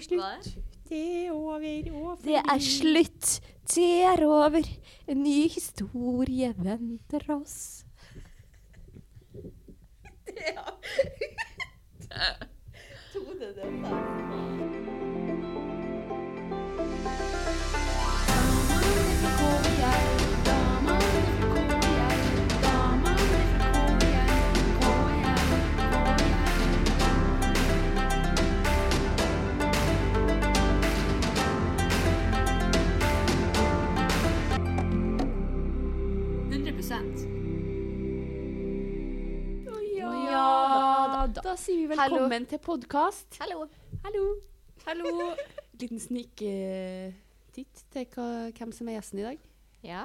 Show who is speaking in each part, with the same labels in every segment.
Speaker 1: slutt. Det er over og
Speaker 2: Det er slutt, det er over. En ny historie venter oss.
Speaker 1: Ja,
Speaker 2: Ja
Speaker 1: da. da sier vi
Speaker 2: Hallo.
Speaker 1: velkommen til podkast.
Speaker 2: Hallo.
Speaker 1: Hallo. Hallo. Liten sniketitt til hva, hvem som er gjesten i dag.
Speaker 2: Ja.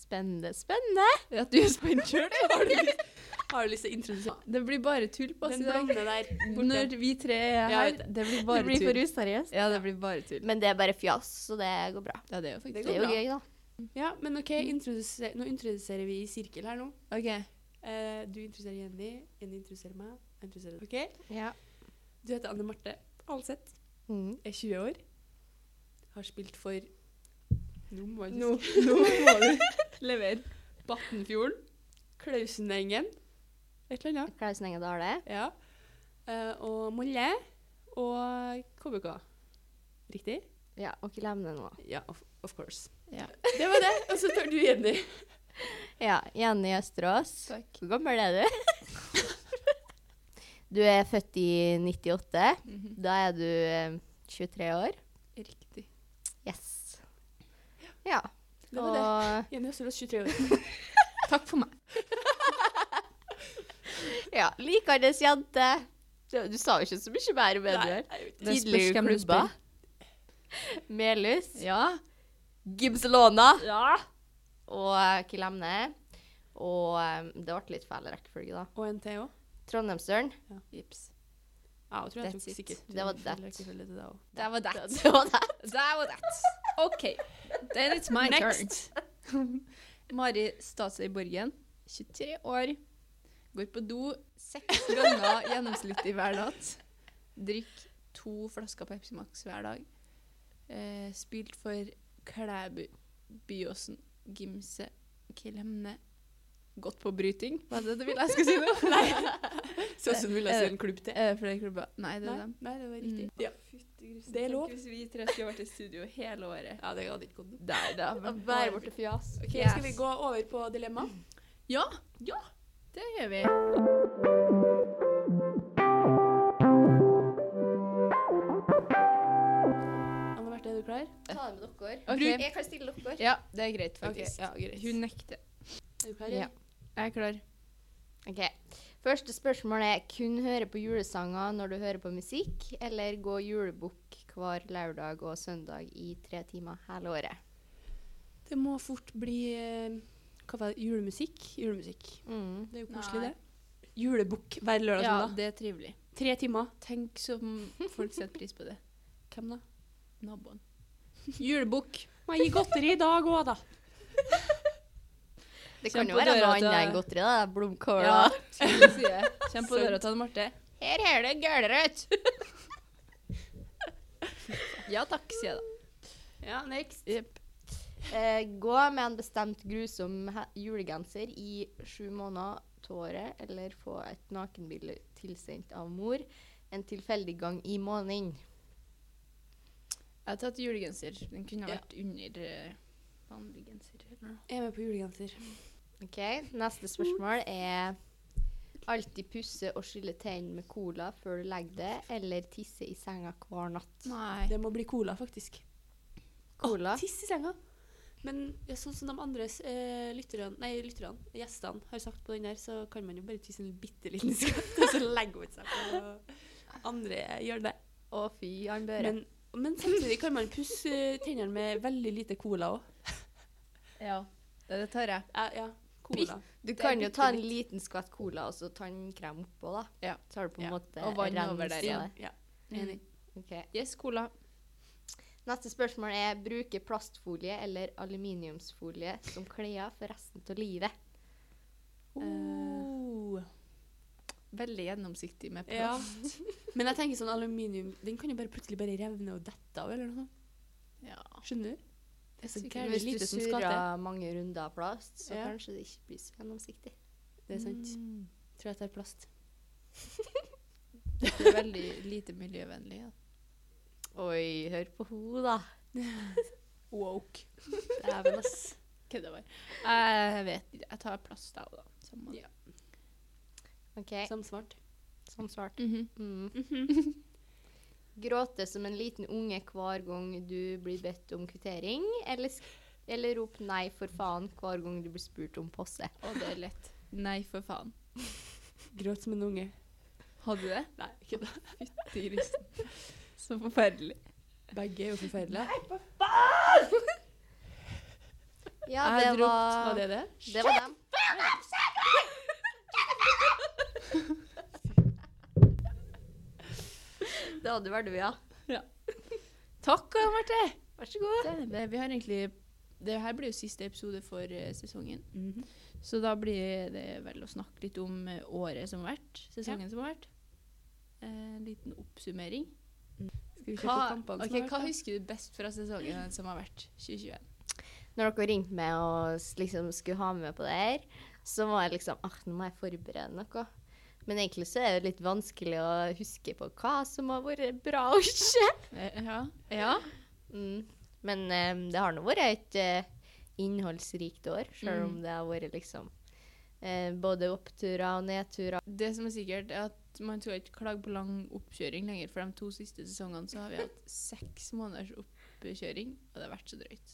Speaker 2: Spennende, spennende.
Speaker 1: Ja, du er spent sjøl? Har, du lyst- har du lyst til å introdusere
Speaker 3: Det blir bare tull på oss i
Speaker 1: Den
Speaker 3: dag.
Speaker 1: blonde der.
Speaker 3: Når vi tre er
Speaker 1: Ja,
Speaker 3: her,
Speaker 1: jeg vet
Speaker 3: det blir bare
Speaker 2: det blir for
Speaker 3: tull.
Speaker 2: useriøst.
Speaker 3: Ja, det blir bare tull.
Speaker 2: Men det er bare fjas, så det går bra.
Speaker 3: Ja, det er jo
Speaker 1: Det
Speaker 3: faktisk
Speaker 1: går
Speaker 2: Det er jo
Speaker 1: bra.
Speaker 2: gøy, da.
Speaker 1: Ja, men OK, introduser, nå introduserer vi i sirkel her nå.
Speaker 3: OK.
Speaker 1: Eh, du introduserer Jenny, Jenny introduserer meg. jeg Introduserer deg. Ok?
Speaker 2: Ja.
Speaker 1: Du heter Anne Marte Alseth,
Speaker 2: Mm.
Speaker 1: er 20 år. Har spilt for Nå må jeg
Speaker 3: Nå,
Speaker 1: huske.
Speaker 3: nå må du levere.
Speaker 1: Battenfjorden, Klausenengen, et eller annet.
Speaker 2: Klaus Nenge Dale.
Speaker 1: Ja. Eh, og Molle og KBK. Riktig?
Speaker 2: Ja, og ikke glem det nå.
Speaker 1: Ja, of, of course.
Speaker 3: Ja.
Speaker 1: Det var det. Og så tar du Jenny.
Speaker 2: Ja, Jenny Østerås.
Speaker 3: Takk.
Speaker 2: Hvor gammel er du? du er født i 98. Da er du eh, 23 år.
Speaker 3: Riktig.
Speaker 2: Yes. Ja.
Speaker 1: Det var det.
Speaker 2: Og
Speaker 1: Jenny Østerås, 23 år.
Speaker 3: Takk for meg.
Speaker 2: ja, likende jente. Du, du sa jo ikke så mye mer med det.
Speaker 1: Nei, jeg vet ikke.
Speaker 3: Det spørs
Speaker 2: Tidligere
Speaker 3: hvem du
Speaker 2: klubber. Melhus.
Speaker 3: Ja.
Speaker 2: Gibselona. Og eh, Kilemne. Og eh, det ble litt feil rekkefølge, da.
Speaker 1: Og en til òg.
Speaker 2: Trondheimsdølen.
Speaker 3: Jips.
Speaker 1: Ja, jeg tror jeg
Speaker 2: That's
Speaker 1: tok
Speaker 2: it.
Speaker 1: sikkert
Speaker 2: Det var
Speaker 1: feil
Speaker 2: that.
Speaker 1: rekkefølge til deg også.
Speaker 3: Det var det.
Speaker 2: Det var det.
Speaker 3: Det var det. OK. Then it's my
Speaker 2: Next.
Speaker 3: turn. Mari Statsøy Borgen, 23 år. Går på do seks ganger gjennomsnittlig hver natt. Drikker to flasker Pepsi Max hver dag. Eh, spilt for Klæbu, Byåsen, Gimse, Kilemne. Godt på bryting, var det det du ville jeg skulle si nå? Nei.
Speaker 1: Sånn som ville jeg si en klubb til.
Speaker 3: Er det flere klubber? Nei, det
Speaker 1: Nei,
Speaker 3: er dem. Mm.
Speaker 1: nei, det var riktig.
Speaker 3: riktig.
Speaker 1: Ja. Det er lov.
Speaker 3: Tenk hvis vi tre skulle vært i studio hele året.
Speaker 1: ja, det hadde ikke gått.
Speaker 3: Der, da.
Speaker 2: Bare bort til fjas.
Speaker 1: Ok,
Speaker 3: Yes.
Speaker 1: Skal vi gå over på dilemma?
Speaker 3: Ja, ja, det gjør vi.
Speaker 1: Anne Marte, er du klar?
Speaker 2: Ta det med dere.
Speaker 3: Ok.
Speaker 2: Bruk- Jeg kan stille dere.
Speaker 3: Ja, det er greit,
Speaker 1: Ok,
Speaker 3: faktisk.
Speaker 1: ja, greit.
Speaker 3: Hun nekter.
Speaker 1: Er du klar?
Speaker 2: Ja.
Speaker 3: Jeg er klar.
Speaker 2: Ok. Første spørsmål er kun høre på julesanger når du hører på musikk, eller gå julebukk hver lørdag og søndag i tre timer hele året?
Speaker 1: Det må fort bli eh, hva var det, julemusikk. Julemusikk.
Speaker 2: Mm.
Speaker 1: Det er jo
Speaker 3: Nei.
Speaker 1: koselig, det. Julebukk hver lørdag.
Speaker 3: Ja,
Speaker 1: søndag.
Speaker 3: det er trivelig.
Speaker 1: Tre timer.
Speaker 3: Tenk som folk setter pris på det.
Speaker 1: Hvem da?
Speaker 3: Naboen. Julebukk.
Speaker 1: Må jeg gi godteri i dag òg, da?
Speaker 2: Det kan
Speaker 3: Kjenn
Speaker 2: jo
Speaker 3: på
Speaker 2: være
Speaker 3: døra
Speaker 2: noe
Speaker 3: til-
Speaker 2: annet enn godteri, da. Blomkål
Speaker 3: Ja,
Speaker 2: og
Speaker 3: skulle si det. Kjenn på døra til Anne Marte.
Speaker 2: Her er det gulrøtt!
Speaker 3: Ja takk, sier jeg da.
Speaker 1: Ja, next.
Speaker 2: Eh, gå med en bestemt grusom he- julegenser i sju måneder av året, eller få et nakenbilde tilsendt av mor en tilfeldig gang i måneden.
Speaker 3: Jeg har tatt julegenser. Den kunne
Speaker 1: Ja.
Speaker 3: vært under eh, vanlig genser. eller noe.
Speaker 1: Jeg er med på julegenser.
Speaker 2: Ok, Neste spørsmål er alltid pusse og skylle tennene med cola før du legger deg, eller tisse i senga hver natt.
Speaker 3: Nei.
Speaker 1: Det må bli cola, faktisk.
Speaker 2: Cola?
Speaker 1: Å, tiss i senga. Men ja, sånn som de andre eh, lytterne, nei, lytterne, gjestene, har sagt på den der, så kan man jo bare tisse en bitte liten skatt, og så legge ut seg på andre gjør det.
Speaker 2: Å fy, han bør
Speaker 1: Men, men samtidig kan man pusse tennene med veldig lite cola òg.
Speaker 3: Ja, det det tar jeg.
Speaker 1: Ja, ja, cola.
Speaker 2: Du
Speaker 3: det er
Speaker 2: kan jo
Speaker 3: bitte
Speaker 2: ta en liten skvatt cola og så tannkrem oppå, da.
Speaker 3: Ja.
Speaker 2: Så har du på en
Speaker 1: Ja,
Speaker 2: måte
Speaker 3: og vann
Speaker 2: renset
Speaker 3: over der igjen.
Speaker 1: Ja,
Speaker 3: Mm.
Speaker 1: enig.
Speaker 2: Ok.
Speaker 3: Yes, cola.
Speaker 2: Neste spørsmål er bruke plastfolie eller aluminiumsfolie
Speaker 1: Uh,
Speaker 2: som klær for resten av livet.
Speaker 1: Oh.
Speaker 3: Veldig gjennomsiktig med
Speaker 1: Uh, Ja.
Speaker 3: plast.
Speaker 1: Men jeg tenker sånn aluminium Den kan jo bare plutselig bare revne og dette av, eller noe sånt.
Speaker 3: Ja.
Speaker 1: Skjønner du? Det er så
Speaker 3: Sikkert.
Speaker 1: gærent
Speaker 2: Hvis
Speaker 1: lite
Speaker 2: du
Speaker 1: som skal til.
Speaker 2: surrer mange runder av plast, så
Speaker 1: Ja.
Speaker 2: kanskje det ikke blir så gjennomsiktig.
Speaker 1: Det er sant.
Speaker 3: Mm.
Speaker 1: Tror jeg tar plast.
Speaker 3: Det er veldig lite miljøvennlig. Ja.
Speaker 2: Oi, hør på henne, da.
Speaker 3: Woke.
Speaker 1: Dæven, ass.
Speaker 3: Kødda bare. Jeg vet ikke. Jeg tar plast, jeg òg, da. Samme det.
Speaker 1: Ja.
Speaker 2: OK,
Speaker 1: Som smart.
Speaker 2: sånn svart.
Speaker 3: Mhm.
Speaker 2: Mm.
Speaker 1: Mhm.
Speaker 2: Gråte som en liten unge hver gang du blir bedt om kvittering, eller, sk- eller rop nei for faen hver gang du blir spurt om posse.
Speaker 3: Og det er lett. Nei, for faen.
Speaker 1: Gråt som en unge.
Speaker 3: Hadde du det?
Speaker 1: Nei, ikke det.
Speaker 3: Fytti grisen. Så forferdelig.
Speaker 1: Begge er jo forferdelige.
Speaker 2: Ja,
Speaker 3: Jeg
Speaker 2: det
Speaker 3: dro-
Speaker 2: var,
Speaker 1: Var det det?
Speaker 2: det var dem. Det hadde vært du, ja.
Speaker 3: Takk, Anne Marte.
Speaker 2: Vær så god.
Speaker 3: Det, det, vi har egentlig det her blir jo siste episode for eh, sesongen.
Speaker 1: Mhm.
Speaker 3: Så da blir det vel å snakke litt om eh, året som har vært. Sesongen som har vært. Eh, En liten oppsummering.
Speaker 1: Skal vi se på
Speaker 3: Hva,
Speaker 1: kampene
Speaker 3: ok,
Speaker 1: som
Speaker 3: hva
Speaker 1: har vært?
Speaker 3: husker du best fra sesongen som har vært 2021?
Speaker 2: Når dere ringte meg og s- liksom skulle ha meg med på det her, så var jeg liksom ah, nå må jeg forberede noe. Men egentlig så er det litt vanskelig å huske på hva som har vært bra og ikke.
Speaker 3: Eh, Ja. ja.
Speaker 2: Mm. Men eh, det har nå vært et eh, innholdsrikt år, selv om
Speaker 3: Mm.
Speaker 2: det har vært liksom eh, både oppturer og nedturer.
Speaker 3: Det som er sikkert, er at man skal ikke klage på lang oppkjøring lenger. For de to siste sesongene så har vi hatt seks måneders oppkjøring, og det har vært så drøyt.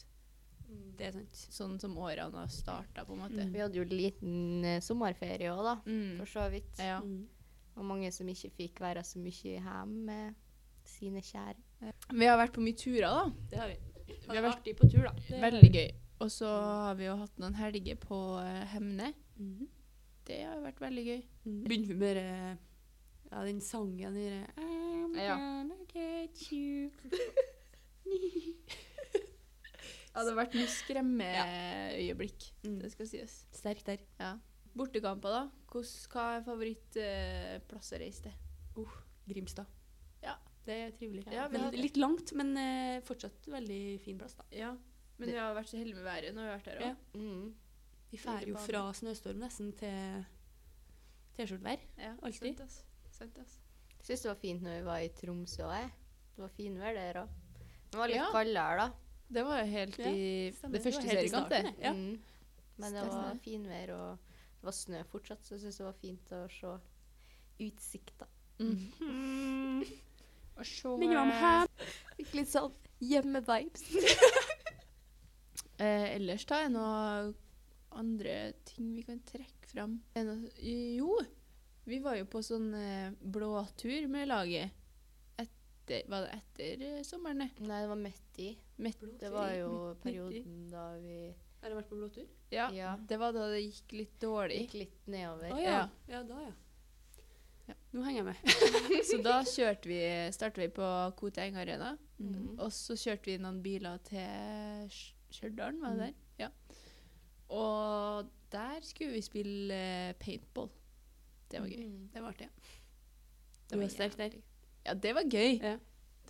Speaker 1: Mm, Det er sant.
Speaker 3: Sånn som årene har starta, på en måte.
Speaker 1: Mm.
Speaker 2: Vi hadde jo liten eh, sommerferie òg, da,
Speaker 3: Mm.
Speaker 2: for så vidt.
Speaker 3: Ja.
Speaker 1: Mm.
Speaker 2: Og mange som ikke fikk være så mye hjemme med sine kjære.
Speaker 3: Vi har vært på mye turer, da.
Speaker 1: Det har vi.
Speaker 3: Vi har vært
Speaker 1: på tur, da.
Speaker 3: Veldig gøy. Og så har vi jo hatt noen helger på eh, Hemne.
Speaker 1: Mhm.
Speaker 3: Det har jo vært veldig gøy.
Speaker 1: Begynner vi med eh, ja, den sangen der eh, I'm
Speaker 3: Ja.
Speaker 1: gonna get you.
Speaker 3: Ja, det har vært mye skremmeøyeblikk. Det
Speaker 1: Mm.
Speaker 3: skal sies.
Speaker 1: Sterk der.
Speaker 3: Bortekamper, da. Hvordan- hva er favorittplass å reise til?
Speaker 1: Grimstad.
Speaker 3: Ja.
Speaker 1: Det er trivelig.
Speaker 3: Ja, vi
Speaker 1: men
Speaker 3: har det.
Speaker 1: litt langt, men eh, fortsatt veldig fin plass, da.
Speaker 3: Ja. Men vi har vært så heldige med været når vi har vært her òg.
Speaker 1: Ja.
Speaker 2: Mm.
Speaker 1: Vi drar jo
Speaker 3: Veldig
Speaker 1: fra snøstorm nesten til T-skjortevær.
Speaker 3: Ja,
Speaker 1: Alltid.
Speaker 3: Sant, ass. Sant, ass.
Speaker 2: Jeg syns det var fint når vi var i Tromsø òg. Det var finvær der òg. Det var litt
Speaker 3: Ja.
Speaker 2: kaldere, da.
Speaker 3: Det var jo helt
Speaker 1: Ja,
Speaker 3: i det første
Speaker 1: var helt i
Speaker 3: seriekamp,
Speaker 1: starten,
Speaker 3: det.
Speaker 1: Ja.
Speaker 2: Mm. Men det
Speaker 3: Stemmer.
Speaker 2: var finvær, og det var snø fortsatt, så jeg syns det var fint å se utsikta.
Speaker 3: Mm.
Speaker 1: Mm.
Speaker 3: Og så
Speaker 1: Ligger om her.
Speaker 2: Fikk litt sånn hjemme-vibes.
Speaker 3: eh, Ellers, da, er det noe andre ting vi kan trekke fram? Er det noe- Jo, vi var jo på sånn eh, blåtur med laget. Etter, var det etter eh, sommeren, det?
Speaker 2: Nei, det var midt i.
Speaker 3: Midt-
Speaker 2: Det var jo
Speaker 3: midt i.
Speaker 2: perioden da vi
Speaker 1: Har du vært på blåtur?
Speaker 3: Ja,
Speaker 2: Ja.
Speaker 3: det var da det gikk litt dårlig.
Speaker 2: gikk litt nedover.
Speaker 1: Å
Speaker 3: ja.
Speaker 1: ja. ja. Da, ja.
Speaker 3: Ja.
Speaker 1: Nå henger jeg med.
Speaker 3: Så da kjørte vi, startet vi på Kote Eng Arena.
Speaker 2: Mm.
Speaker 3: Og så kjørte vi noen biler til Sj- Stjørdal, var det der? Ja. Og der skulle vi spille eh, paintball. Det var gøy.
Speaker 2: Mm.
Speaker 1: Det var artig. ja.
Speaker 3: Det var
Speaker 1: Du var sterk der.
Speaker 3: Ja, det var gøy!
Speaker 1: Ja.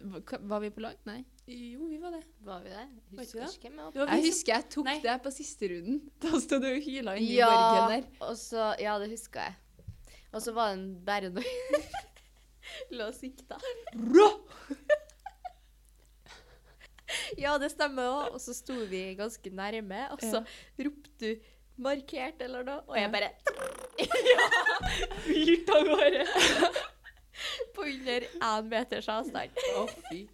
Speaker 3: Var- hva- Var vi på lag? Nei.
Speaker 1: Jo, vi var det.
Speaker 2: Var vi der?
Speaker 1: Var
Speaker 2: Husker
Speaker 1: ikke
Speaker 2: ikke hvem jeg var.
Speaker 1: Det var vi
Speaker 3: Jeg
Speaker 1: som-
Speaker 3: husker jeg tok
Speaker 1: Nei.
Speaker 3: deg på siste runden. Da sto du og hyla inni
Speaker 2: Ja,
Speaker 3: borgen der.
Speaker 2: og så, ja, det husker jeg. Og så var det en bare når lå og sikta. Ja, det stemmer òg. Og så sto vi ganske nærme, og så ropte du 'markert' eller noe, og jeg
Speaker 3: Ja.
Speaker 2: bare Ja! Fyrt av gårde. På under én meters avstand.
Speaker 3: Å, fy.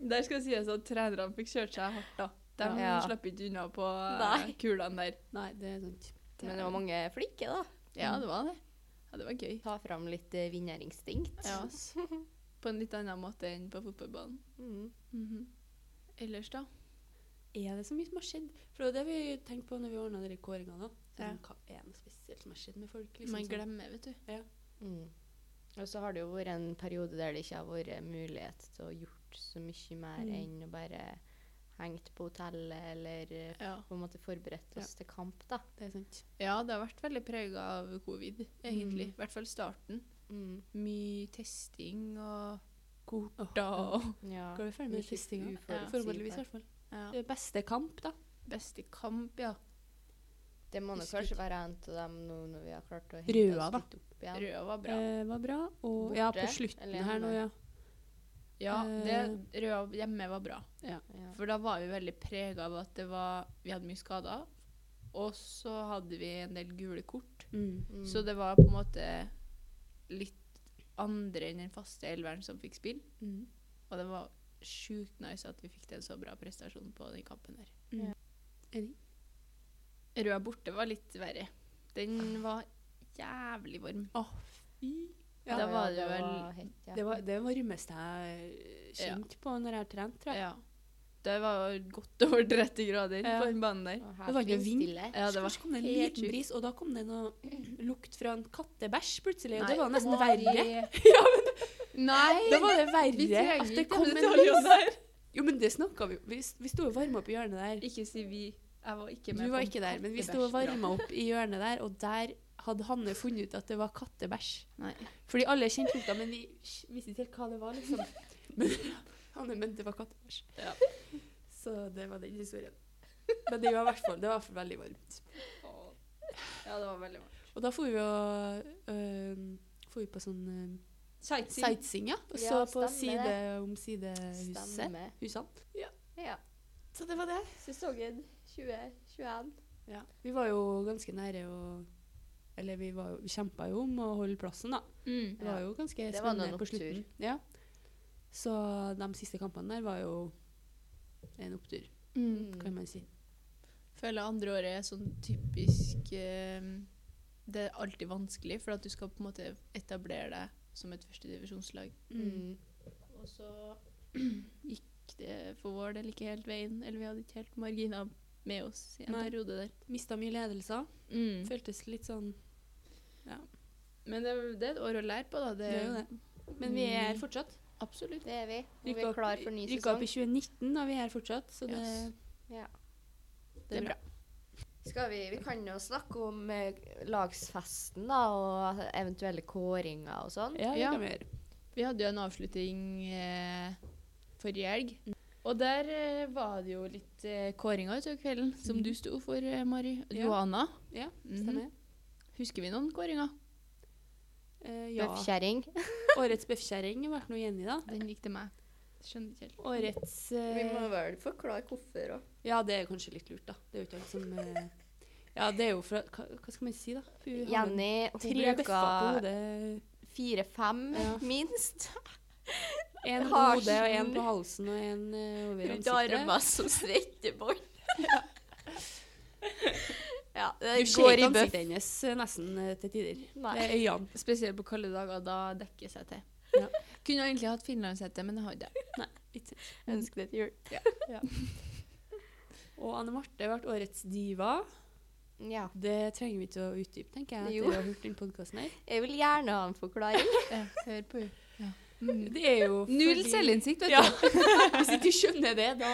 Speaker 3: Der skal det sies at trenerne fikk kjørt seg hardt, da. De
Speaker 2: Ja.
Speaker 3: slapp ikke unna på eh,
Speaker 2: Nei.
Speaker 3: kulene der.
Speaker 1: Nei, det er sånn sant.
Speaker 2: Men det var mange flinke, da. Mm.
Speaker 3: Ja, det var det. Mm. Ja, det var gøy.
Speaker 2: Ta fram litt eh, vinnerinstinkt.
Speaker 3: Ja, ass. På en litt annen måte enn på fotballbanen.
Speaker 2: Mm.
Speaker 3: Mhm. Ellers, da?
Speaker 1: Er det så mye som har skjedd? For det var det vi tenkte på når vi ordna de kåringene. da.
Speaker 3: Ja.
Speaker 1: Sånn, Hva er det spesielt som har skjedd med folk?
Speaker 3: Liksom Man
Speaker 1: sånn?
Speaker 3: glemmer, vet du.
Speaker 2: Mm. Og så har det jo vært en periode der det ikke har vært mulighet til å gjort så mye mer
Speaker 1: Mm.
Speaker 2: enn å bare hengt på hotellet eller eh,
Speaker 3: Ja.
Speaker 2: på en måte forberedt oss til kamp, da.
Speaker 1: Det er sant.
Speaker 3: ja, det har vært veldig prega av covid, egentlig.
Speaker 1: Mm.
Speaker 3: I hvert fall starten.
Speaker 2: Mm.
Speaker 3: Mye testing og korter og
Speaker 2: Ja.
Speaker 1: Går vi ferdig med
Speaker 2: Mye
Speaker 1: testinga?
Speaker 2: uforutsigbart.
Speaker 1: Forhåpentligvis, i hvert fall.
Speaker 3: ja.
Speaker 1: Eh, Beste kamp, da?
Speaker 3: Beste kamp, ja.
Speaker 2: Det må nok
Speaker 1: Husker
Speaker 2: kanskje
Speaker 1: ikke.
Speaker 2: være en av dem nå når vi har klart å
Speaker 1: Røa, da.
Speaker 2: litt opp igjen.
Speaker 3: Røa var bra.
Speaker 1: Eh, var bra. Og ja, på
Speaker 2: Borte,
Speaker 1: slutten
Speaker 2: eller
Speaker 1: her nå, ja.
Speaker 3: Ja,
Speaker 1: eh.
Speaker 3: det, Røa hjemme var bra.
Speaker 2: Ja.
Speaker 3: For da var vi veldig prega av at det var, vi hadde mye skader. Og så hadde vi en del gule kort.
Speaker 1: Mm.
Speaker 2: Mm.
Speaker 3: Så det var på en måte litt andre enn den faste elveren som fikk spill.
Speaker 1: Mm.
Speaker 3: Og det var sjukt nice at vi fikk til en så bra prestasjon på den kampen der.
Speaker 1: Mm. Enig.
Speaker 3: Røa borte var litt verre. Den var jævlig varm.
Speaker 1: Ja,
Speaker 3: da var det
Speaker 2: det
Speaker 3: vel-
Speaker 2: var hett, ja.
Speaker 1: Det var det varmeste jeg
Speaker 3: Ja.
Speaker 1: kjente på når jeg har trent, tror jeg.
Speaker 3: Ja. Det var godt over 30 grader
Speaker 1: Ja.
Speaker 3: på den banen der.
Speaker 2: Og
Speaker 1: det
Speaker 2: her
Speaker 1: var ikke vind.
Speaker 2: vindstille.
Speaker 3: Ja, det var
Speaker 1: Så kom det en
Speaker 3: helt
Speaker 1: liten
Speaker 3: sjukt.
Speaker 1: bris, og da kom det noe lukt fra en kattebæsj plutselig. Og
Speaker 3: Nei,
Speaker 1: det var nesten
Speaker 3: Mari.
Speaker 1: verre.
Speaker 3: Nei!
Speaker 1: Da var det
Speaker 3: vi
Speaker 1: verre
Speaker 3: trenger
Speaker 1: at det
Speaker 3: ikke
Speaker 1: kom
Speaker 3: alle
Speaker 1: en
Speaker 3: detaljene
Speaker 1: lys.
Speaker 3: her.
Speaker 1: Jo, men det snakka vi Vi, vi sto og varma opp i hjørnet der.
Speaker 3: Ikke si vi. Jeg var ikke med.
Speaker 1: Du
Speaker 3: på
Speaker 1: var
Speaker 3: den
Speaker 1: ikke der, men vi sto og
Speaker 3: kattebæsjpraten.
Speaker 1: varma opp i hjørnet der, og der hadde Hanne funnet ut at det var kattebæsj.
Speaker 3: Nei.
Speaker 1: Fordi alle kjente lukta, men vi sj- visste ikke helt hva det var, liksom. Men Hanne mente det var kattebæsj.
Speaker 3: Ja.
Speaker 1: Så det var den historien. Men det var i hvert fall, det var i hvert fall veldig varmt.
Speaker 3: Ja, det var veldig bra.
Speaker 1: Og da for vi og øh, for vi på sånn øh,
Speaker 3: Sightseeing.
Speaker 1: sightseeing, ja. Og
Speaker 2: Ja,
Speaker 1: så på
Speaker 2: stemmer
Speaker 1: side
Speaker 2: det.
Speaker 1: om sidehuset.
Speaker 2: Stemme.
Speaker 1: Husene.
Speaker 2: Ja.
Speaker 1: Så det var det.
Speaker 2: Sesongen 2021.
Speaker 1: Ja. Vi var jo ganske nære å Eller vi, var jo- vi kjempa jo om å holde plassen, da.
Speaker 3: Mm.
Speaker 1: Det var
Speaker 2: Ja.
Speaker 1: jo ganske
Speaker 2: Det var
Speaker 1: spennende
Speaker 2: noen
Speaker 1: på
Speaker 2: opptur.
Speaker 1: slutten. Ja. Så de siste kampene der var jo en opptur,
Speaker 3: Mm.
Speaker 1: kan man si.
Speaker 3: Føler andre året er sånn typisk eh, Det er alltid vanskelig, for at du skal på en måte etablere deg som et førstedivisjonslag.
Speaker 2: Mm.
Speaker 3: Og så gikk det for vår del ikke helt veien, eller vi hadde ikke helt marginer med oss i en
Speaker 1: Nei.
Speaker 3: periode der.
Speaker 1: Mista mye ledelser.
Speaker 3: Mm.
Speaker 1: Føltes litt sånn
Speaker 3: Men det, det er et år å lære på, da. Det,
Speaker 1: Det er jo Men vi er her fortsatt.
Speaker 3: Absolutt.
Speaker 2: Det er vi. Og Mm. vi
Speaker 1: Rykka
Speaker 2: er
Speaker 1: opp-
Speaker 2: klar for ny
Speaker 1: rykka opp
Speaker 2: sesong.
Speaker 1: i 2019, og vi er her fortsatt, så det,
Speaker 3: Yes.
Speaker 2: Ja.
Speaker 3: Det er bra.
Speaker 2: Skal vi, vi kan jo snakke om eh, lagsfesten da, og eventuelle kåringer og sånn.
Speaker 1: Ja, det
Speaker 3: Ja.
Speaker 1: kan vi gjøre.
Speaker 3: Vi hadde jo en avslutning eh, forrige helg. Og der eh, var det jo litt eh, kåringer utover kvelden, som du sto for, eh, Mari.
Speaker 1: Ja.
Speaker 3: Johanna.
Speaker 1: Ja,
Speaker 3: Mhm.
Speaker 2: Mm-hmm.
Speaker 1: stemmer.
Speaker 3: Husker vi noen kåringer?
Speaker 1: Eh, ja.
Speaker 2: Bøffkjerring.
Speaker 1: Årets bøffkjerring ble nå Jenny, da.
Speaker 3: Den likte meg. Skjønner ikke helt.
Speaker 1: Årets eh,
Speaker 2: vel forklare hvorfor òg.
Speaker 1: Ja, det er kanskje litt lurt, da. Det er jo ikke alt som eh, Ja, det er jo fra Hva, hva skal man si, da? Hun har en-
Speaker 2: Jenny hun
Speaker 1: tre bøffer på
Speaker 2: bruker
Speaker 1: hodet.
Speaker 2: fire-fem,
Speaker 1: Ja.
Speaker 2: minst.
Speaker 1: En på
Speaker 2: Harsen.
Speaker 1: hodet, og en på halsen, og en eh, over
Speaker 2: Rundt
Speaker 1: ansiktet.
Speaker 2: armene som strekkebånd. ja, det
Speaker 1: Du ser
Speaker 2: går
Speaker 1: ikke
Speaker 2: i bøff.
Speaker 1: ansiktet hennes eh, nesten eh, til tider.
Speaker 2: Nei.
Speaker 1: Det er øynene.
Speaker 3: Spesielt på kalde dager. Da dekker jeg seg til.
Speaker 1: Ja.
Speaker 3: Kunne egentlig hatt finlandshette, men jeg har ikke det.
Speaker 1: Ikke-
Speaker 2: Ønsk det til jul.
Speaker 1: Og Anne Marte ble årets diva.
Speaker 2: Ja.
Speaker 1: Det trenger vi ikke å utdype, tenker jeg.
Speaker 2: Jo.
Speaker 1: etter å ha hørt den podcasten her.
Speaker 2: Jeg vil gjerne ha en forklaring.
Speaker 3: Ja, Hør på henne. Ja. Mm.
Speaker 1: Det er jo
Speaker 3: Null
Speaker 1: fordi-
Speaker 3: selvinnsikt, vet
Speaker 1: Ja.
Speaker 3: du.
Speaker 1: Hvis ikke du skjønner det, da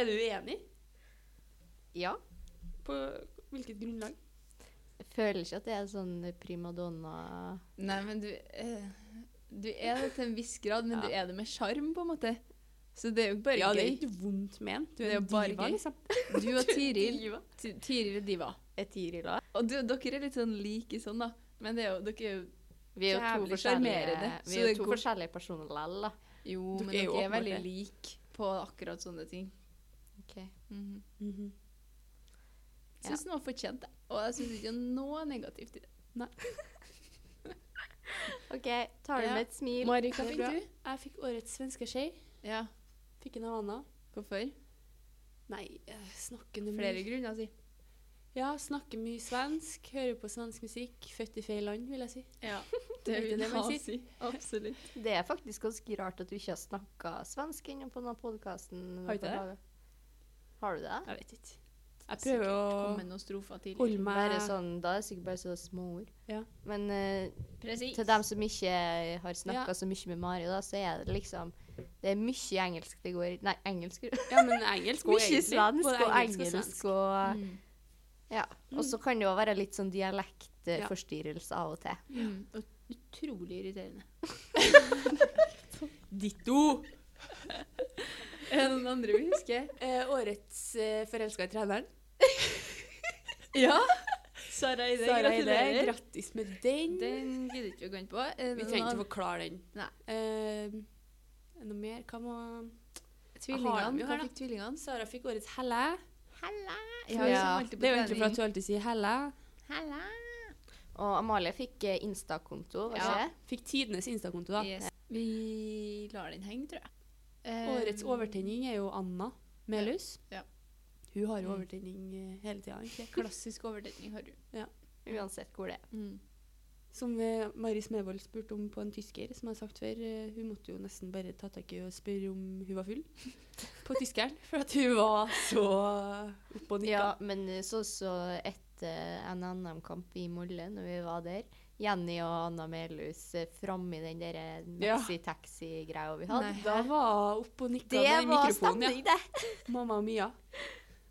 Speaker 1: er du uenig.
Speaker 2: Ja.
Speaker 1: På hvilket grunnlag?
Speaker 2: Jeg føler ikke at det er sånn primadonna
Speaker 3: Nei, men du, eh, du er det til en viss grad, men
Speaker 2: Ja.
Speaker 3: du er det med sjarm, på en måte. Så det er jo bare
Speaker 1: Ja, det er
Speaker 3: gøy.
Speaker 1: ikke vondt ment. Du
Speaker 3: Det
Speaker 1: er
Speaker 3: er
Speaker 1: en
Speaker 3: jo bare
Speaker 1: diva,
Speaker 3: gøy.
Speaker 1: liksom.
Speaker 3: Du og Tiril Ti- Tiril er diva.
Speaker 2: Er Tiril òg?
Speaker 3: Og du, dere er litt sånn like sånn, da. Men det er jo, dere er jo
Speaker 2: Vi er jo to
Speaker 3: Jævlig
Speaker 2: forskjellige,
Speaker 3: sjarmerende.
Speaker 2: vi
Speaker 3: Så
Speaker 2: er
Speaker 3: det
Speaker 2: jo to
Speaker 3: går-
Speaker 2: forskjellige personer likevel, da.
Speaker 3: Jo,
Speaker 1: Dere
Speaker 3: men
Speaker 1: er jo
Speaker 3: dere
Speaker 1: åpenbart
Speaker 3: er veldig
Speaker 1: det.
Speaker 3: like på akkurat sånne ting. Mhm.
Speaker 1: Mhm.
Speaker 3: Jeg syns den var fortjent, jeg. Og jeg syns ikke noe negativt i det.
Speaker 2: OK, tar du
Speaker 3: Ja.
Speaker 2: med et smil?
Speaker 3: Mari,
Speaker 1: hva
Speaker 3: hva
Speaker 1: fikk
Speaker 3: fikk du?
Speaker 1: Jeg fikk årets svenske skje.
Speaker 3: Ja,
Speaker 1: Fikk en av Anna.
Speaker 3: Hvorfor?
Speaker 1: Nei, eh, snakkende
Speaker 3: Flere
Speaker 1: mye.
Speaker 3: grunner, si.
Speaker 1: Ja, snakker mye svensk. Hører på svensk musikk. Født i feil land, vil jeg si.
Speaker 3: Ja,
Speaker 1: det
Speaker 3: det vil
Speaker 1: man
Speaker 3: jeg
Speaker 1: sier?
Speaker 3: si. Absolutt.
Speaker 2: Det er faktisk ganske rart at du ikke har snakka svensk ennå på denne podkasten.
Speaker 1: Har ikke det?
Speaker 2: Har du det?
Speaker 1: Jeg vet ikke. Jeg prøver å
Speaker 3: Komme med noen strofer til.
Speaker 1: holde meg
Speaker 2: Bare sånn, da er det sikkert bare så små ord.
Speaker 1: Ja.
Speaker 2: Men eh,
Speaker 3: Presis.
Speaker 2: til dem som ikke har snakka
Speaker 1: Ja.
Speaker 2: så mye med Mari, da, så er det liksom Det er mye engelsk det går i. Nei, engelsk
Speaker 1: Ja, men engelsk og
Speaker 2: Mye
Speaker 1: egentlig.
Speaker 2: svensk
Speaker 1: både
Speaker 2: og engelsk og
Speaker 3: Mm.
Speaker 2: Ja. Og så kan det jo være litt sånn dialektforstyrrelse av og til.
Speaker 3: Mm. Og utrolig irriterende.
Speaker 1: Ditto!
Speaker 3: Er det noen andre vi husker?
Speaker 1: Eh, årets eh, forelska i treneren.
Speaker 3: Ja! Sara Eide,
Speaker 1: Sara Eide,
Speaker 3: gratulerer.
Speaker 1: grattis med den.
Speaker 3: Den gidder ikke vi å gå inn på. Er
Speaker 1: Vi
Speaker 3: det
Speaker 1: trenger
Speaker 3: noen
Speaker 1: ikke forklare den.
Speaker 3: Nei.
Speaker 1: Eh, er det noe mer? Hva må
Speaker 3: av
Speaker 1: Har
Speaker 3: tvillingene?
Speaker 1: vi her,
Speaker 3: Hva
Speaker 1: da?
Speaker 3: fikk tvillingene?
Speaker 1: Sara fikk årets helle.
Speaker 2: Halla,
Speaker 3: Ja, vi som alltid på
Speaker 1: Det er jo egentlig for
Speaker 3: trening.
Speaker 1: at hun alltid sier helle.
Speaker 2: halla. Og Amalie fikk eh, Insta-konto, var
Speaker 3: Ja.
Speaker 2: ikke det?
Speaker 1: Fikk tidenes Insta-konto, da.
Speaker 3: Yes. Vi lar den henge, tror jeg.
Speaker 1: Årets
Speaker 3: Eh,
Speaker 1: overtenning er jo Anna Melhus.
Speaker 3: Ja.
Speaker 1: Hun har jo
Speaker 2: Mm.
Speaker 1: overtenning eh, hele tida, egentlig.
Speaker 3: Klassisk overtenning har du.
Speaker 2: Uansett hvor det er.
Speaker 3: Mm.
Speaker 1: Som eh, Mari Smevold spurte om på en tysker, som jeg har sagt før. eh, Hun måtte jo nesten bare ta tak i og spørre om hun var full på tyskeren, for at hun var så oppe og
Speaker 2: Ja,
Speaker 1: nikka.
Speaker 2: men eh, så så etter en NM-kamp i Molle, når vi var der Jenny og Anna Melhus eh, framme i den der eh,
Speaker 1: Ja.
Speaker 2: maxi-taxi-greia vi hadde.
Speaker 3: Nei.
Speaker 1: Da var hun oppe og nikka
Speaker 2: Det
Speaker 1: med
Speaker 2: var
Speaker 1: mikrofonen.
Speaker 2: stemning, det!
Speaker 1: Ja. Mamma og Mia.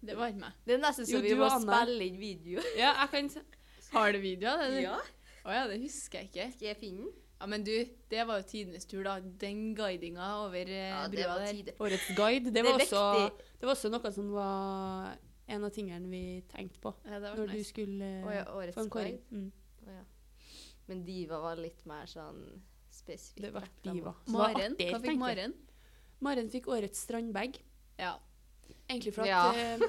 Speaker 3: Det var meg.
Speaker 2: Det er nesten så
Speaker 1: Jo,
Speaker 2: vi
Speaker 1: du
Speaker 2: må
Speaker 1: og Anna.
Speaker 2: spille inn video.
Speaker 1: Ja, jeg kan se.
Speaker 3: Har du videoer? eller? Å ja, det husker jeg ikke.
Speaker 2: Skal jeg finne den?
Speaker 3: Ja, Men du, det var jo tidenes tur, da. Den guidinga over eh,
Speaker 2: Ja, det
Speaker 3: brua
Speaker 2: var
Speaker 3: der.
Speaker 2: tide.
Speaker 1: Årets guide. Det var,
Speaker 2: er
Speaker 1: også,
Speaker 2: viktig.
Speaker 1: det var også noe som var en av tingene vi tenkte på
Speaker 3: Ja, det var
Speaker 1: når du
Speaker 3: nice.
Speaker 1: skulle eh,
Speaker 2: Å ja, årets
Speaker 1: få en kåring.
Speaker 2: guide.
Speaker 1: Mm.
Speaker 2: Å ja. Men Diva var litt mer sånn spesifikk.
Speaker 1: Det ble
Speaker 2: da.
Speaker 1: diva. Så det var
Speaker 3: Maren?
Speaker 1: artig,
Speaker 3: Hva
Speaker 1: tenkte jeg.
Speaker 3: fikk Maren?
Speaker 1: Maren fikk årets strandbag.
Speaker 3: Ja.
Speaker 1: Egentlig for at
Speaker 2: Ja.
Speaker 1: eh,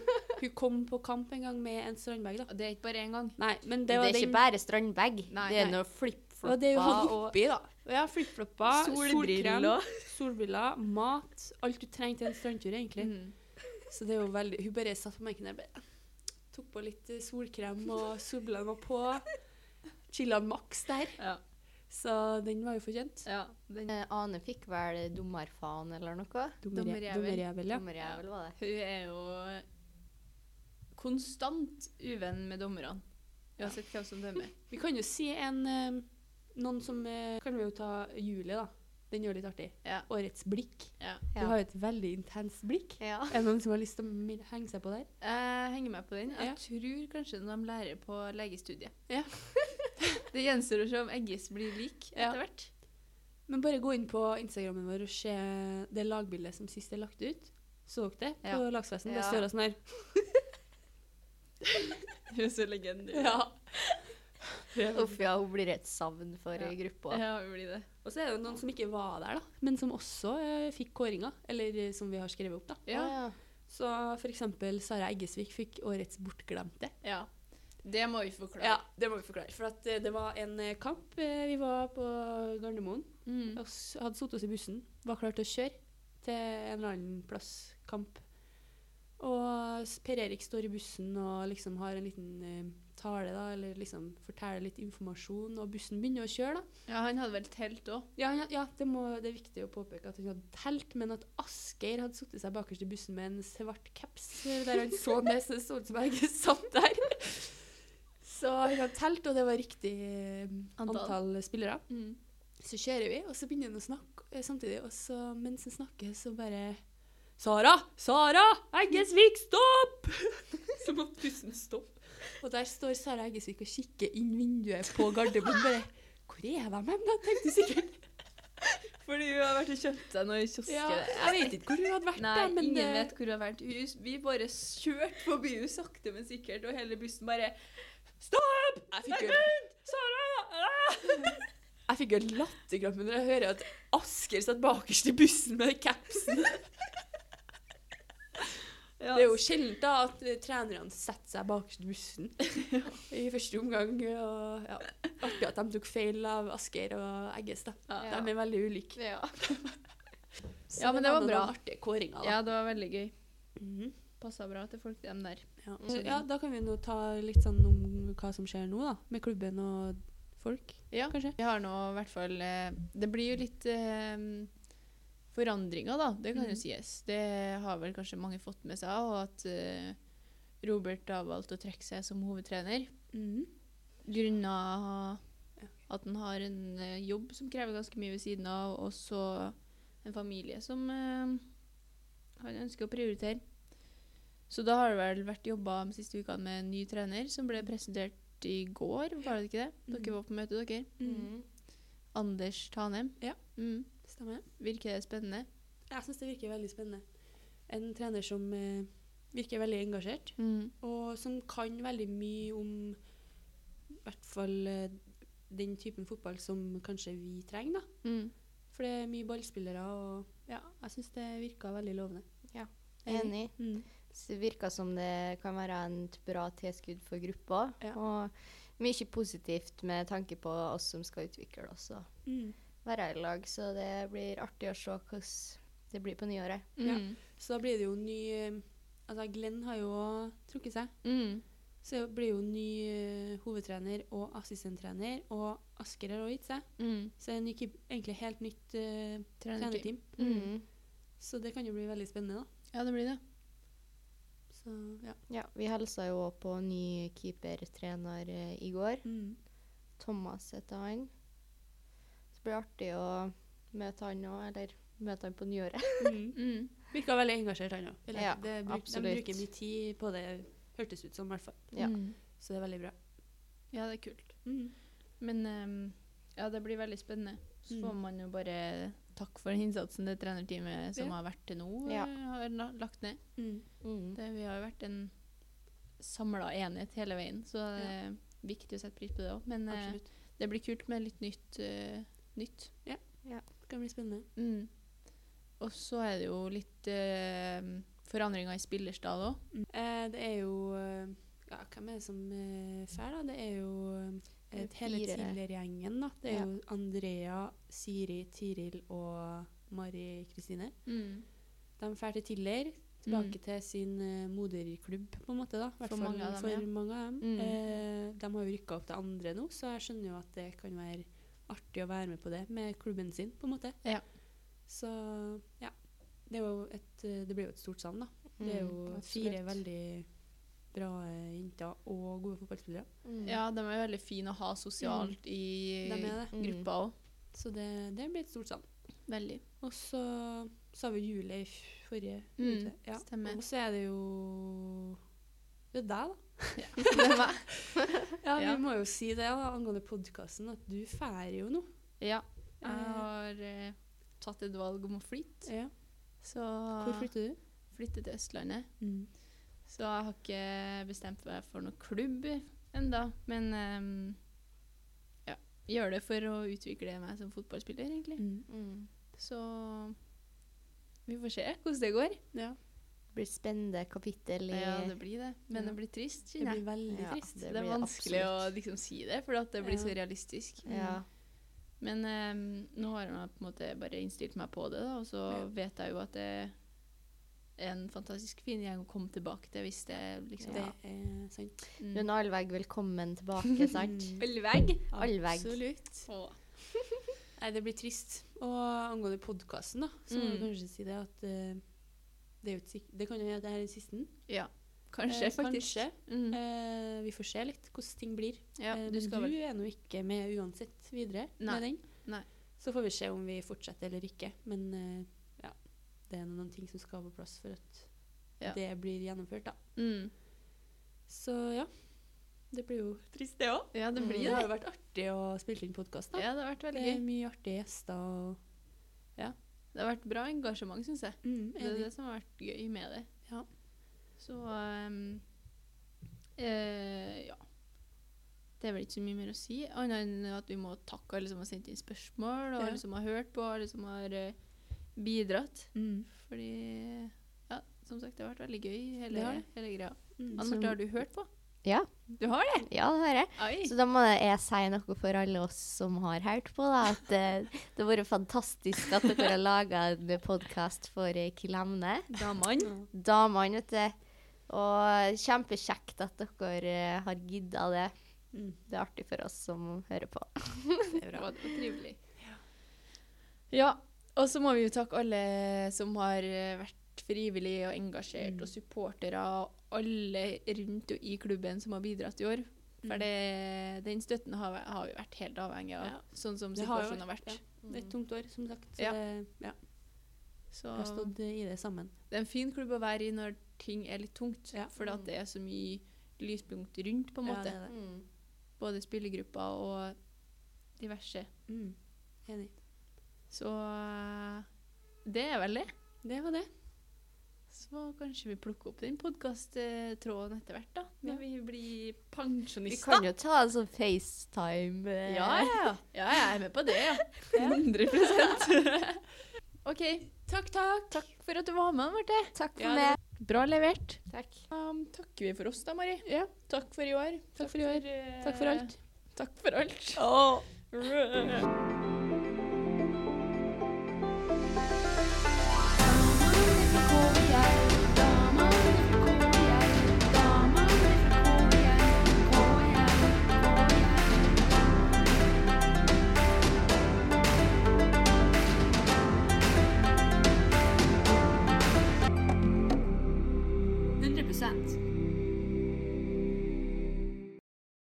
Speaker 1: hun kom på kamp en gang med en strandbag, da.
Speaker 3: Og Det er ikke bare én gang.
Speaker 1: Nei, men det
Speaker 2: Det,
Speaker 1: var
Speaker 2: er
Speaker 1: den,
Speaker 2: ikke bare strandbag.
Speaker 3: Nei,
Speaker 2: det er
Speaker 3: nei.
Speaker 2: noe
Speaker 1: det var det hun hadde
Speaker 2: flipflopper og
Speaker 1: oppi, da. Ja, flipflopper, solkrem,
Speaker 2: solbriller.
Speaker 1: solbriller, mat. Alt du trengte i en strandtur, egentlig.
Speaker 3: Mm.
Speaker 1: Så det er jo veldig Hun bare satt på benken der, bare tok på litt eh, solkrem, og solbrillene var på. Chilla maks der.
Speaker 3: Ja.
Speaker 1: Så den var jo fortjent.
Speaker 3: ja. Den,
Speaker 2: Eh, Ane fikk vel dommerfaen eller noe.
Speaker 1: Dommerje-
Speaker 3: Dommerjævel.
Speaker 1: Dommerjævel, ja.
Speaker 2: Dommerjævel var det.
Speaker 3: hun er jo konstant uvenn med dommerne. Uansett hvem som dømmer.
Speaker 1: Vi kan jo si en eh, Noen som eh, Kan vi jo ta Julie, da. Den gjør det litt artig.
Speaker 3: Ja.
Speaker 1: Årets blikk.
Speaker 3: Ja.
Speaker 1: Du har jo et veldig intenst blikk.
Speaker 2: Ja.
Speaker 1: Er det noen som har lyst til å mi- henge seg på der?
Speaker 3: Jeg henger meg på den. Jeg
Speaker 1: Ja.
Speaker 3: tror kanskje de lærer på legestudiet.
Speaker 1: Ja.
Speaker 3: det gjenstår å se om Eggis blir lik
Speaker 1: Ja.
Speaker 3: etter hvert.
Speaker 1: Men bare gå inn på Instagrammen vår og se det lagbildet som sist er lagt ut. Så dere det? På
Speaker 3: Ja.
Speaker 1: lagsfesten. Det
Speaker 2: Ja.
Speaker 1: står hun sånn her.
Speaker 3: Hun er så legende.
Speaker 2: Uff, ja, hun blir et savn for
Speaker 3: Ja.
Speaker 2: eh, gruppa.
Speaker 3: ja hun blir det.
Speaker 1: Og så er det jo noen som ikke var der, da, men som også eh, fikk kåringa. Eller eh, som vi har skrevet opp, da.
Speaker 3: Ja.
Speaker 2: Å,
Speaker 1: Så for eksempel Sara Eggesvik fikk årets bortglemte.
Speaker 3: Ja. Det må vi forklare.
Speaker 1: Ja, det må vi forklare. For at eh, det var en eh, kamp. eh, Vi var på Gardermoen.
Speaker 3: Mm.
Speaker 1: og s- hadde sittet oss i bussen, var klar til å kjøre til en eller annen plass, kamp. Og s- Per Erik står i bussen og liksom har en liten eh, tale, da, eller liksom forteller litt informasjon, og bussen begynner å kjøre, da.
Speaker 3: ja, han hadde vel telt òg.
Speaker 1: Ja, han had- ja det, må, det er viktig å påpeke at han hadde telt, men at Asgeir hadde sittet seg bakerst i bussen med en svart caps, eh, der han så ned, så det så ut som jeg satt der. Så han hadde telt, og det var riktig eh,
Speaker 3: Antall.
Speaker 1: antall spillere.
Speaker 3: Mm.
Speaker 1: Så kjører vi, og så begynner han å snakke eh, samtidig. Og så mens han snakker, så bare Sara! Sara! Eggesvik, stopp! så måtte pusten stoppe. Og der står Sara Eggesvik og kikker inn vinduet på Gardermoen. bare, Hvor er de hen, da? tenkte hun sikkert.
Speaker 3: Fordi hun har vært og kjøpt seg noe i kiosken.
Speaker 1: Ja, jeg vet ikke hvor hun hadde vært,
Speaker 3: Nei,
Speaker 1: da, men
Speaker 3: ingen
Speaker 1: eh,
Speaker 3: vet hvor hun har vært. Hun, vi bare kjørte forbi henne sakte, men sikkert, og hele bussen bare Stopp!
Speaker 1: Jeg
Speaker 3: Nei,
Speaker 1: fikk jo-
Speaker 3: vent! Sara! Ah!
Speaker 1: jeg fikk jo latterkrampe når jeg hører at Asker satt bakerst i bussen med capsen.
Speaker 3: Ja,
Speaker 1: Det er jo sjelden da at eh, trenerne setter seg bakerst i bussen i første omgang. Og, ja. Artig at de tok feil av Asgeir og Egges. da.
Speaker 3: Ja.
Speaker 1: De er veldig ulike.
Speaker 3: Ja.
Speaker 1: Så
Speaker 3: Ja, men det var
Speaker 1: noen
Speaker 3: bra.
Speaker 1: artige kåringer, da.
Speaker 3: ja, det var veldig gøy.
Speaker 1: Mhm.
Speaker 3: Passa bra til folk, dem der.
Speaker 1: Ja.
Speaker 2: Mm.
Speaker 1: ja, da kan vi nå ta litt sånn om hva som skjer nå, da. Med klubben og folk,
Speaker 3: Ja.
Speaker 1: kanskje.
Speaker 3: Vi har nå i hvert fall eh, Det blir jo litt eh, forandringer, da. Det kan
Speaker 1: Mhm.
Speaker 3: jo sies. Det har vel kanskje mange fått med seg, og at eh, Robert da valgte å trekke seg som hovedtrener
Speaker 1: Mhm.
Speaker 3: grunna at han har en eh, jobb som krever ganske mye ved siden av, og så en familie som eh, han ønsker å prioritere. Så da har det vel vært jobba de siste ukene med en ny trener, som ble presentert i går, var det ikke det? Dere
Speaker 1: Mhm.
Speaker 3: var på møte, dere.
Speaker 1: Mm.
Speaker 3: Anders Tanem.
Speaker 1: Ja.
Speaker 3: Mm.
Speaker 1: Stemmer.
Speaker 3: Virker det spennende?
Speaker 1: Jeg syns det virker veldig spennende. En trener som eh, virker veldig engasjert, og som kan veldig mye om i hvert fall eh, den typen fotball som kanskje vi trenger, da.
Speaker 3: Mm.
Speaker 1: For det er mye ballspillere, og ja, jeg syns det virka veldig lovende.
Speaker 2: Ja.
Speaker 1: Enig.
Speaker 2: Enig.
Speaker 1: Mm.
Speaker 2: Så det virker som det kan være et bra tilskudd for gruppa.
Speaker 1: Ja.
Speaker 2: Og mye positivt med tanke på oss som skal utvikle oss og
Speaker 1: Mm.
Speaker 2: være i lag. Så det blir artig å se hvordan det blir på nyåret.
Speaker 1: Ja.
Speaker 3: Mm.
Speaker 1: Så da blir det jo ny eh, Altså, Glenn har jo trukket seg.
Speaker 3: Mm.
Speaker 1: Så det blir jo ny eh, hovedtrener og assistenttrener, og Asker har også gitt seg.
Speaker 3: Mm.
Speaker 1: Så det er en ny, keep- egentlig helt nytt eh, trenerteam.
Speaker 3: Trenerteam. Mm.
Speaker 1: Så det kan jo bli veldig spennende, da.
Speaker 3: Ja, det blir det.
Speaker 1: Så, ja.
Speaker 2: Ja, vi hilsa jo også på ny keepertrener eh, i går. Thomas heter han. Så det blir artig å møte han òg, eller møte han på nyåret.
Speaker 1: Mm.
Speaker 3: Mm.
Speaker 1: Virka veldig engasjert, han òg.
Speaker 2: Ja,
Speaker 1: de
Speaker 2: absolutt.
Speaker 1: bruker mye tid på det, hørtes ut som, i hvert fall.
Speaker 2: Ja.
Speaker 3: Mm.
Speaker 1: Så det er veldig bra.
Speaker 3: ja, det er kult. Men ehm, ja, det blir veldig spennende. Så
Speaker 1: Mm.
Speaker 3: får man jo bare takk for den innsatsen det trenerteamet som
Speaker 1: Ja.
Speaker 3: har vært til nå,
Speaker 2: Ja.
Speaker 3: eh, har la- lagt ned.
Speaker 2: Mm.
Speaker 3: Det, vi har jo vært en samla enhet hele veien, så det er viktig å sette pris på det òg. Men eh,
Speaker 1: Absolutt.
Speaker 3: det blir kult med litt nytt. eh, nytt.
Speaker 1: Det kan bli spennende.
Speaker 3: Mm. Og så er det jo litt eh, forandringer i spillerstad òg.
Speaker 1: Eh, det er jo eh, ja, Hvem er det som eh, fær, da? Det er jo eh,
Speaker 2: Det er
Speaker 1: hele
Speaker 2: fire.
Speaker 1: tidligere-gjengen, da. Det er
Speaker 2: Ja.
Speaker 1: jo Andrea, Siri, Tiril og Mari Kristine. De drar til Tiller, tilbake
Speaker 3: Mm.
Speaker 1: til sin eh, moderklubb, på en måte. da. Hvert
Speaker 3: For
Speaker 1: fall
Speaker 3: mange av dem,
Speaker 1: for
Speaker 3: ja.
Speaker 1: mange av dem.
Speaker 3: Mm.
Speaker 1: Eh, de har jo rykka opp til andre nå, så jeg skjønner jo at det kan være artig å være med på det med klubben sin, på en måte.
Speaker 3: Ja.
Speaker 1: Så ja. Det, er jo et, eh, det blir jo et stort savn, da. Det
Speaker 2: mm,
Speaker 1: er jo
Speaker 3: Mm, absolutt.
Speaker 1: fire veldig bra eh, jenter og gode fotballspillere.
Speaker 2: Mm.
Speaker 3: Ja, de er veldig fine å ha sosialt i
Speaker 1: De er det.
Speaker 2: Mm.
Speaker 3: gruppa òg.
Speaker 1: Så det, det blir et stort savn.
Speaker 3: Veldig.
Speaker 1: Og så sa vi jule i f- forrige
Speaker 3: Mm,
Speaker 1: uke. Ja.
Speaker 3: stemmer.
Speaker 1: Og så er det jo Det er deg, da.
Speaker 3: Det var
Speaker 1: Ja,
Speaker 3: Ja.
Speaker 1: vi må jo si det da, angående podkasten, at du fær jo nå.
Speaker 3: Ja.
Speaker 1: Eh,
Speaker 3: Jeg har eh, tatt et valg om å flytte.
Speaker 1: ja.
Speaker 3: Så
Speaker 1: Hvor flytter du?
Speaker 3: flytte til Østlandet.
Speaker 1: Mm.
Speaker 3: Så jeg har ikke bestemt meg for noen klubb enda, men ehm, ja, gjør det for å utvikle meg som fotballspiller, egentlig.
Speaker 1: Mm.
Speaker 2: Mm.
Speaker 3: Så vi får se hvordan det går.
Speaker 1: Ja.
Speaker 2: Det blir spennende kapittel i
Speaker 3: Ja, det blir det. Men
Speaker 1: Ja.
Speaker 3: det blir trist,
Speaker 1: Det
Speaker 3: kjenner jeg.
Speaker 1: blir veldig
Speaker 2: Ja.
Speaker 1: trist.
Speaker 2: det
Speaker 3: Det
Speaker 2: blir
Speaker 3: er
Speaker 2: det
Speaker 3: vanskelig å
Speaker 2: absolutt.
Speaker 3: liksom si det, for at det blir
Speaker 1: Ja.
Speaker 3: så realistisk. Mm.
Speaker 2: Ja.
Speaker 3: Men ehm, nå har jeg på en måte bare innstilt meg på det, da, og så
Speaker 1: Ja.
Speaker 3: vet jeg jo at det er en fantastisk fin gjeng å komme tilbake til hvis det liksom
Speaker 1: Det er sant.
Speaker 3: Mm.
Speaker 2: Rune Alveg, velkommen tilbake, sant?
Speaker 1: Mm.
Speaker 3: Ølvegg.
Speaker 2: Alveg.
Speaker 1: Absolutt. Nei, det blir trist. Og angående podkasten, da, så må vi
Speaker 3: Mm.
Speaker 1: kanskje si det at eh, det, er jo ikke sikk- det kan jo hende at det her er den siste.
Speaker 3: Ja. Kanskje,
Speaker 1: Eh,
Speaker 3: faktisk.
Speaker 1: Kanskje.
Speaker 3: Mm.
Speaker 1: Eh, vi får se litt hvordan ting blir.
Speaker 3: Ja,
Speaker 1: Eh,
Speaker 3: du
Speaker 1: men
Speaker 3: skal
Speaker 1: du
Speaker 3: vel
Speaker 1: er nå ikke med uansett videre
Speaker 3: Nei.
Speaker 1: med den.
Speaker 3: Nei.
Speaker 1: Så får vi se om vi fortsetter eller ikke. Men eh, ja, det er noen ting som skal på plass for at
Speaker 3: Ja.
Speaker 1: det blir gjennomført, da.
Speaker 3: mm.
Speaker 1: Så ja. Det blir jo trist, det òg.
Speaker 3: Ja, det
Speaker 2: Mm.
Speaker 3: blir
Speaker 1: Det har
Speaker 3: det.
Speaker 1: jo vært artig å spille inn podkast, da.
Speaker 3: Ja, det har vært veldig
Speaker 1: det er
Speaker 3: gøy.
Speaker 1: mye artige gjester og
Speaker 3: Det har vært bra engasjement, syns jeg.
Speaker 1: mm,
Speaker 3: Det er det som har vært gøy med det.
Speaker 1: Ja.
Speaker 3: Så ehm, eh, Ja. Det er vel ikke så mye mer å si, annet enn at vi må takke alle som har sendt inn spørsmål, og
Speaker 1: Ja.
Speaker 3: alle som har hørt på, alle som har eh, bidratt.
Speaker 1: Mm.
Speaker 3: Fordi Ja, som sagt, det har vært veldig gøy, hele,
Speaker 1: Det har det.
Speaker 3: hele greia.
Speaker 1: Mm.
Speaker 3: Anne
Speaker 2: Så-
Speaker 3: Marte, har du hørt på?
Speaker 2: Ja.
Speaker 3: Du har det?
Speaker 2: ja, det hører jeg.
Speaker 3: Oi!
Speaker 2: Så da må jeg si noe for alle oss som har hørt på, da, at eh, det har vært fantastisk at dere har laga en podkast for eh, Kilemne.
Speaker 3: Damene.
Speaker 2: Damene, vet du. Og kjempekjekt at dere eh, har gidda det.
Speaker 1: Mm.
Speaker 2: Det er artig for oss som hører på.
Speaker 1: Det er
Speaker 3: Det
Speaker 1: bra.
Speaker 3: var trivelig. Ja. Og så må vi jo takke alle som har eh, vært frivillige og engasjert,
Speaker 1: Mm.
Speaker 3: og supportere og alle rundt og i klubben som har bidratt i år. For
Speaker 1: Mm.
Speaker 3: det, den støtten har, væ- har vi vært helt avhengig av,
Speaker 1: Ja.
Speaker 3: sånn som
Speaker 1: Det har jo
Speaker 3: situasjonen har vært.
Speaker 1: Det er et tungt år, som sagt. Så
Speaker 3: Ja.
Speaker 1: det, ja.
Speaker 3: Så
Speaker 1: Vi har stått i det sammen.
Speaker 3: det er en fin klubb å være i når ting er litt tungt,
Speaker 1: Ja.
Speaker 3: fordi at det er så mye lyspunkt rundt, på en
Speaker 1: Ja,
Speaker 3: måte.
Speaker 1: det er det.
Speaker 2: Mm.
Speaker 3: Både spillergrupper og diverse.
Speaker 1: Mm. Enig.
Speaker 3: Så eh, det er vel det.
Speaker 1: Det var det.
Speaker 3: Så kanskje vi plukker opp den podkasttråden etter hvert, da. Når
Speaker 1: Ja.
Speaker 3: vi blir
Speaker 2: Vi
Speaker 3: pensjonister.
Speaker 2: kan jo ta en sånn FaceTime. eh,
Speaker 3: Ja, ja. ja, jeg er med på det, ja. 100 OK. Takk, takk. Takk for at du var med, Marte.
Speaker 2: Takk for
Speaker 1: Ja,
Speaker 2: meg.
Speaker 3: Bra levert.
Speaker 2: Takk.
Speaker 3: Um, takker vi for oss, da, Mari. Ja. Takk for i år. Takk, for i år.
Speaker 1: Takk for alt.
Speaker 3: Takk for alt.